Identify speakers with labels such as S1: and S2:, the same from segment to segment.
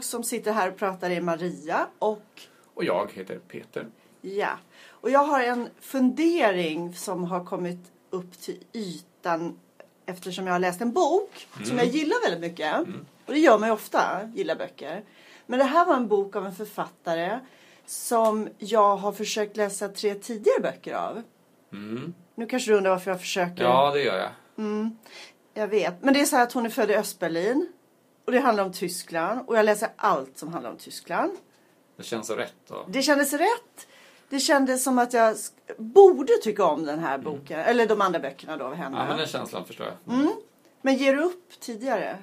S1: som sitter här och pratar är Maria och
S2: Och jag heter Peter.
S1: ja. Och jag har en fundering som har kommit upp till ytan eftersom jag har läst en bok som jag gillar väldigt mycket. Och det gör man ju ofta, gillar böcker. Men det här var en bok av en författare som jag har försökt läsa tre tidigare böcker av.
S2: Mm.
S1: Nu kanske du undrar varför jag försöker. Mm.
S2: Ja, det gör jag.
S1: Jag vet. Men det är så här att hon är född i Östberlin. Och det handlar om Tyskland. Och jag läser allt som handlar om Tyskland.
S2: Det känns så rätt. Då.
S1: Det kändes rätt. Det kändes som att jag sk- borde tycka om den här boken. Eller de andra böckerna då av henne.
S2: Mm. Ja, men
S1: men,
S2: den känslan förstår jag.
S1: ger du upp tidigare?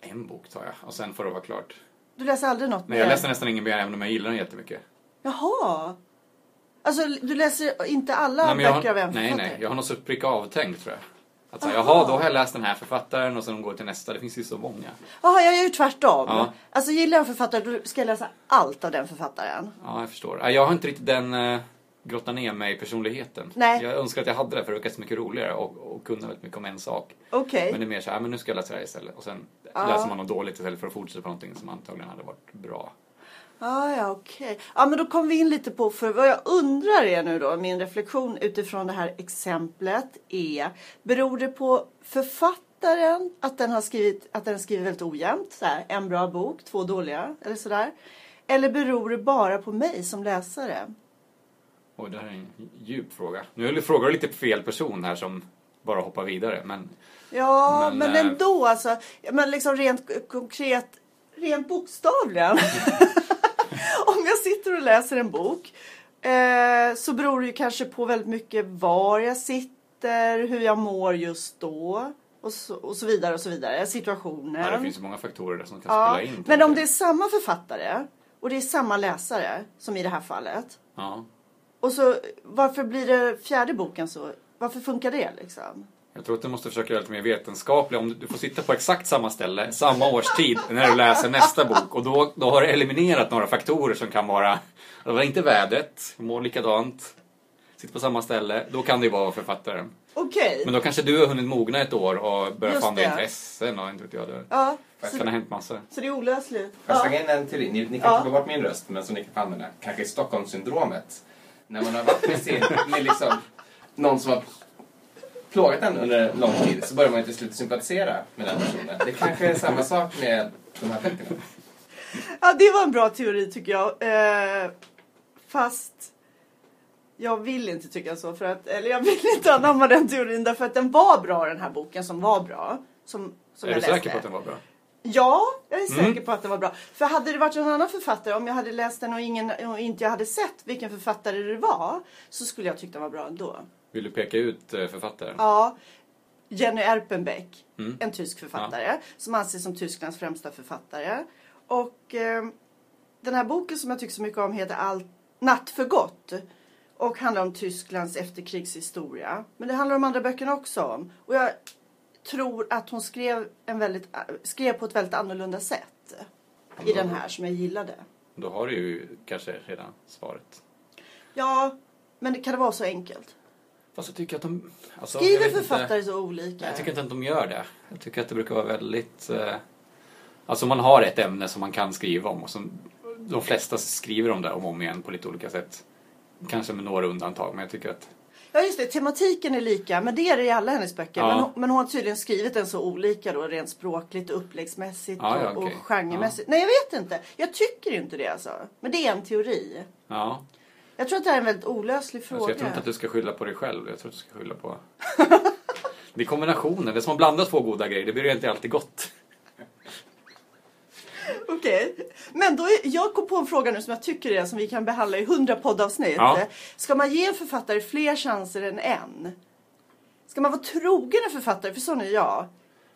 S2: En bok tar jag och sen får det vara klart.
S1: Du läser aldrig något
S2: Men jag
S1: mer?
S2: läser nästan ingen mer även om jag gillar den jättemycket.
S1: Jaha. Alltså du läser inte alla
S2: Nej, men jag
S1: böcker av
S2: har,
S1: en
S2: nej,
S1: författare?
S2: nej, jag har nog suttit pricka avtänkt tror jag. Att säga,
S1: Aha.
S2: jaha, då har jag läst den här författaren och sen går jag till nästa. Det finns ju så många.
S1: Jaha, jag gör ju tvärtom.
S2: Ja.
S1: Alltså gillar jag en författare då ska jag läsa allt av den författaren.
S2: Ja, jag förstår. Nej, Jag har inte riktigt den eh, grotta ner mig i personligheten.
S1: Nej.
S2: Jag önskar att jag hade det för det verkar så mycket roligare och, och kunna väldigt mycket om en sak.
S1: Okej.
S2: Men det är mer så här, men nu ska jag läsa det här istället. Och sen
S1: Ja.
S2: läser man något dåligt istället för att fortsätta på någonting som antagligen hade varit bra.
S1: Ah, ja, okej. Ja, men då kom vi in lite på, för vad jag undrar är nu då, min reflektion utifrån det här exemplet är, beror det på författaren att den har skrivit, att den skriver väldigt ojämnt, så här, en bra bok, två dåliga eller sådär? Eller beror det bara på mig som läsare?
S2: Oj, det här är en djup fråga. Nu frågar du lite fel person här som bara hoppar vidare. Men
S1: Ja, men,
S2: Men, eh,
S1: ändå alltså. Men liksom rent k- konkret, rent bokstavligen. Om jag sitter och läser en bok eh, så beror det ju kanske på väldigt mycket var jag sitter, hur jag mår just då och så, och så vidare och så vidare. Situationen.
S2: ja, det finns ju många faktorer där som kan
S1: Ja,
S2: spela in.
S1: men om
S2: tänker
S1: det är
S2: jag.
S1: samma författare och det är samma läsare som i det här fallet.
S2: Ja,
S1: Och så varför blir det fjärde boken så? Varför funkar det liksom?
S2: jag tror att du måste försöka göra lite mer vetenskaplig. Om du- du får sitta på exakt samma ställe, samma årstid, när du läser nästa bok. Och då, då har du eliminerat några faktorer som kan vara... Det var inte vädret, mår likadant, sitter på samma ställe. Då kan det ju vara författaren.
S1: Okej.
S2: Men då kanske du har hunnit mogna ett år och börjat
S1: Just
S2: få andra
S1: det.
S2: intressen och inte vet jag. Det
S1: Ja,
S2: det
S1: så,
S2: kan ha hänt massor.
S1: så det är olösligt.
S3: Får jag
S1: Ja.
S3: slänga in en teori? Ni, ni kan
S1: Ja.
S3: inte få bort min röst, men som ni kan få använda. Kanske Stockholmssyndromet. När man har varit med, sin, med liksom, någon som har plågat en under lång tid så börjar man ju till slut sympatisera med den personen. Det kanske är samma sak med de här böckerna.
S1: Ja, det var en bra teori tycker jag. Eh, fast jag vill inte tycka så. För att, eller jag vill inte anamma den teorin därför att den var bra den här boken som var bra. Som, som
S2: är
S1: jag
S2: du
S1: läste.
S2: säker på att den Mm. var bra?
S1: Ja, jag är säker på att den var bra. För hade det varit en annan författare, om jag hade läst den och, ingen, och inte jag hade sett vilken författare det var, så skulle jag tyckt den var bra ändå.
S2: Vill du peka ut eh, författaren?
S1: Ja, Jenny Erpenbeck,
S2: Mm.
S1: en tysk författare som anses som Tysklands främsta författare. Och eh, den här boken som jag tycker så mycket om heter All... Natt för gott och handlar om Tysklands efterkrigshistoria. Men det handlar de andra böckerna också om. Och jag tror att hon skrev, en väldigt, skrev på ett väldigt annorlunda sätt i den här som jag gillade.
S2: Då har du ju kanske redan svaret.
S1: Ja, men det kan det vara så enkelt?
S2: Fast jag tycker att de... Alltså, jag
S1: Skriver
S2: vet inte.
S1: författare så olika?
S2: Nej, Jag tycker inte att de gör det. Jag tycker att det brukar vara väldigt... Eh, alltså man har ett ämne som man kan skriva om och som de flesta skriver om det om och om igen på lite olika sätt. Kanske med några undantag, men jag tycker att...
S1: Ja just det, tematiken är lika, men det är det i alla hennes böcker.
S2: Ja.
S1: Men, hon, men hon har tydligen skrivit den så olika då, rent språkligt, uppläggsmässigt
S2: Ja, ja,
S1: och, och
S2: okej.
S1: genremässigt. Nej, jag vet inte. Jag tycker inte det alltså. Men det är en teori.
S2: Ja,
S1: Jag tror att det här är en väldigt olöslig fråga.
S2: alltså jag tror inte att du ska skylla på dig själv. Jag tror att du ska skylla på... Det är kombinationen. Det är som att blanda två goda grejer. Det blir ju inte alltid gott.
S1: Okej. Men då, är, jag kom på en fråga nu som jag tycker är som vi kan behandla i hundra poddavsnitt.
S2: Ja.
S1: Ska man ge en författare fler chanser än en? Ska man vara trogen en författare? För sån är jag.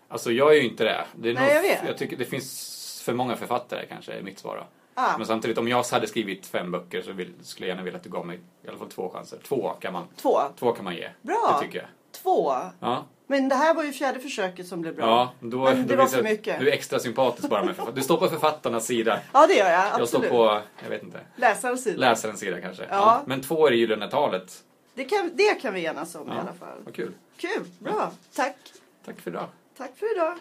S2: Alltså jag är ju inte det. det är
S1: Nej, jag vet.
S2: jag tycker det finns för många författare kanske, är mitt svar. då.
S1: Ah.
S2: Men samtidigt, om jag hade skrivit fem böcker så vill, skulle jag gärna vilja att du gav mig i alla fall två chanser. Två kan man,
S1: Två.
S2: två kan man ge.
S1: Bra.
S2: Det tycker jag.
S1: Två.
S2: Ja,
S1: Men det här var ju fjärde försöket som blev bra.
S2: ja då,
S1: Men det
S2: då
S1: var
S2: visar
S1: för
S2: jag att
S1: mycket.
S2: Du är extra sympatisk bara med författare. Du står på författarnas sida.
S1: Ja, det gör jag. Absolut.
S2: Jag står på, jag vet inte,
S1: Läsarens sida.
S2: läsarens sida kanske.
S1: Ja.
S2: Men två är det gyllene talet.
S1: Det kan, det kan vi enas om i alla fall.
S2: Vad kul.
S1: Kul, bra. Tack.
S2: Tack för idag.
S1: Tack för idag.